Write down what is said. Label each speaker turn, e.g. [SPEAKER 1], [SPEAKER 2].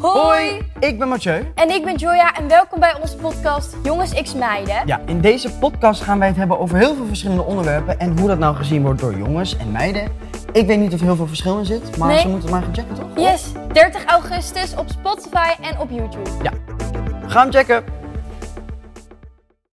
[SPEAKER 1] Hoi,
[SPEAKER 2] ik ben Mathieu.
[SPEAKER 1] En ik ben Joya en welkom bij onze podcast Jongens X Meiden.
[SPEAKER 2] Ja, in deze podcast gaan wij het hebben over heel veel verschillende onderwerpen en hoe dat nou gezien wordt door jongens en meiden. Ik weet niet of er heel veel verschil in zit, maar
[SPEAKER 1] Nee.
[SPEAKER 2] ze moeten het maar gaan checken, toch?
[SPEAKER 1] Yes, 30 augustus op Spotify en op YouTube.
[SPEAKER 2] Gaan checken!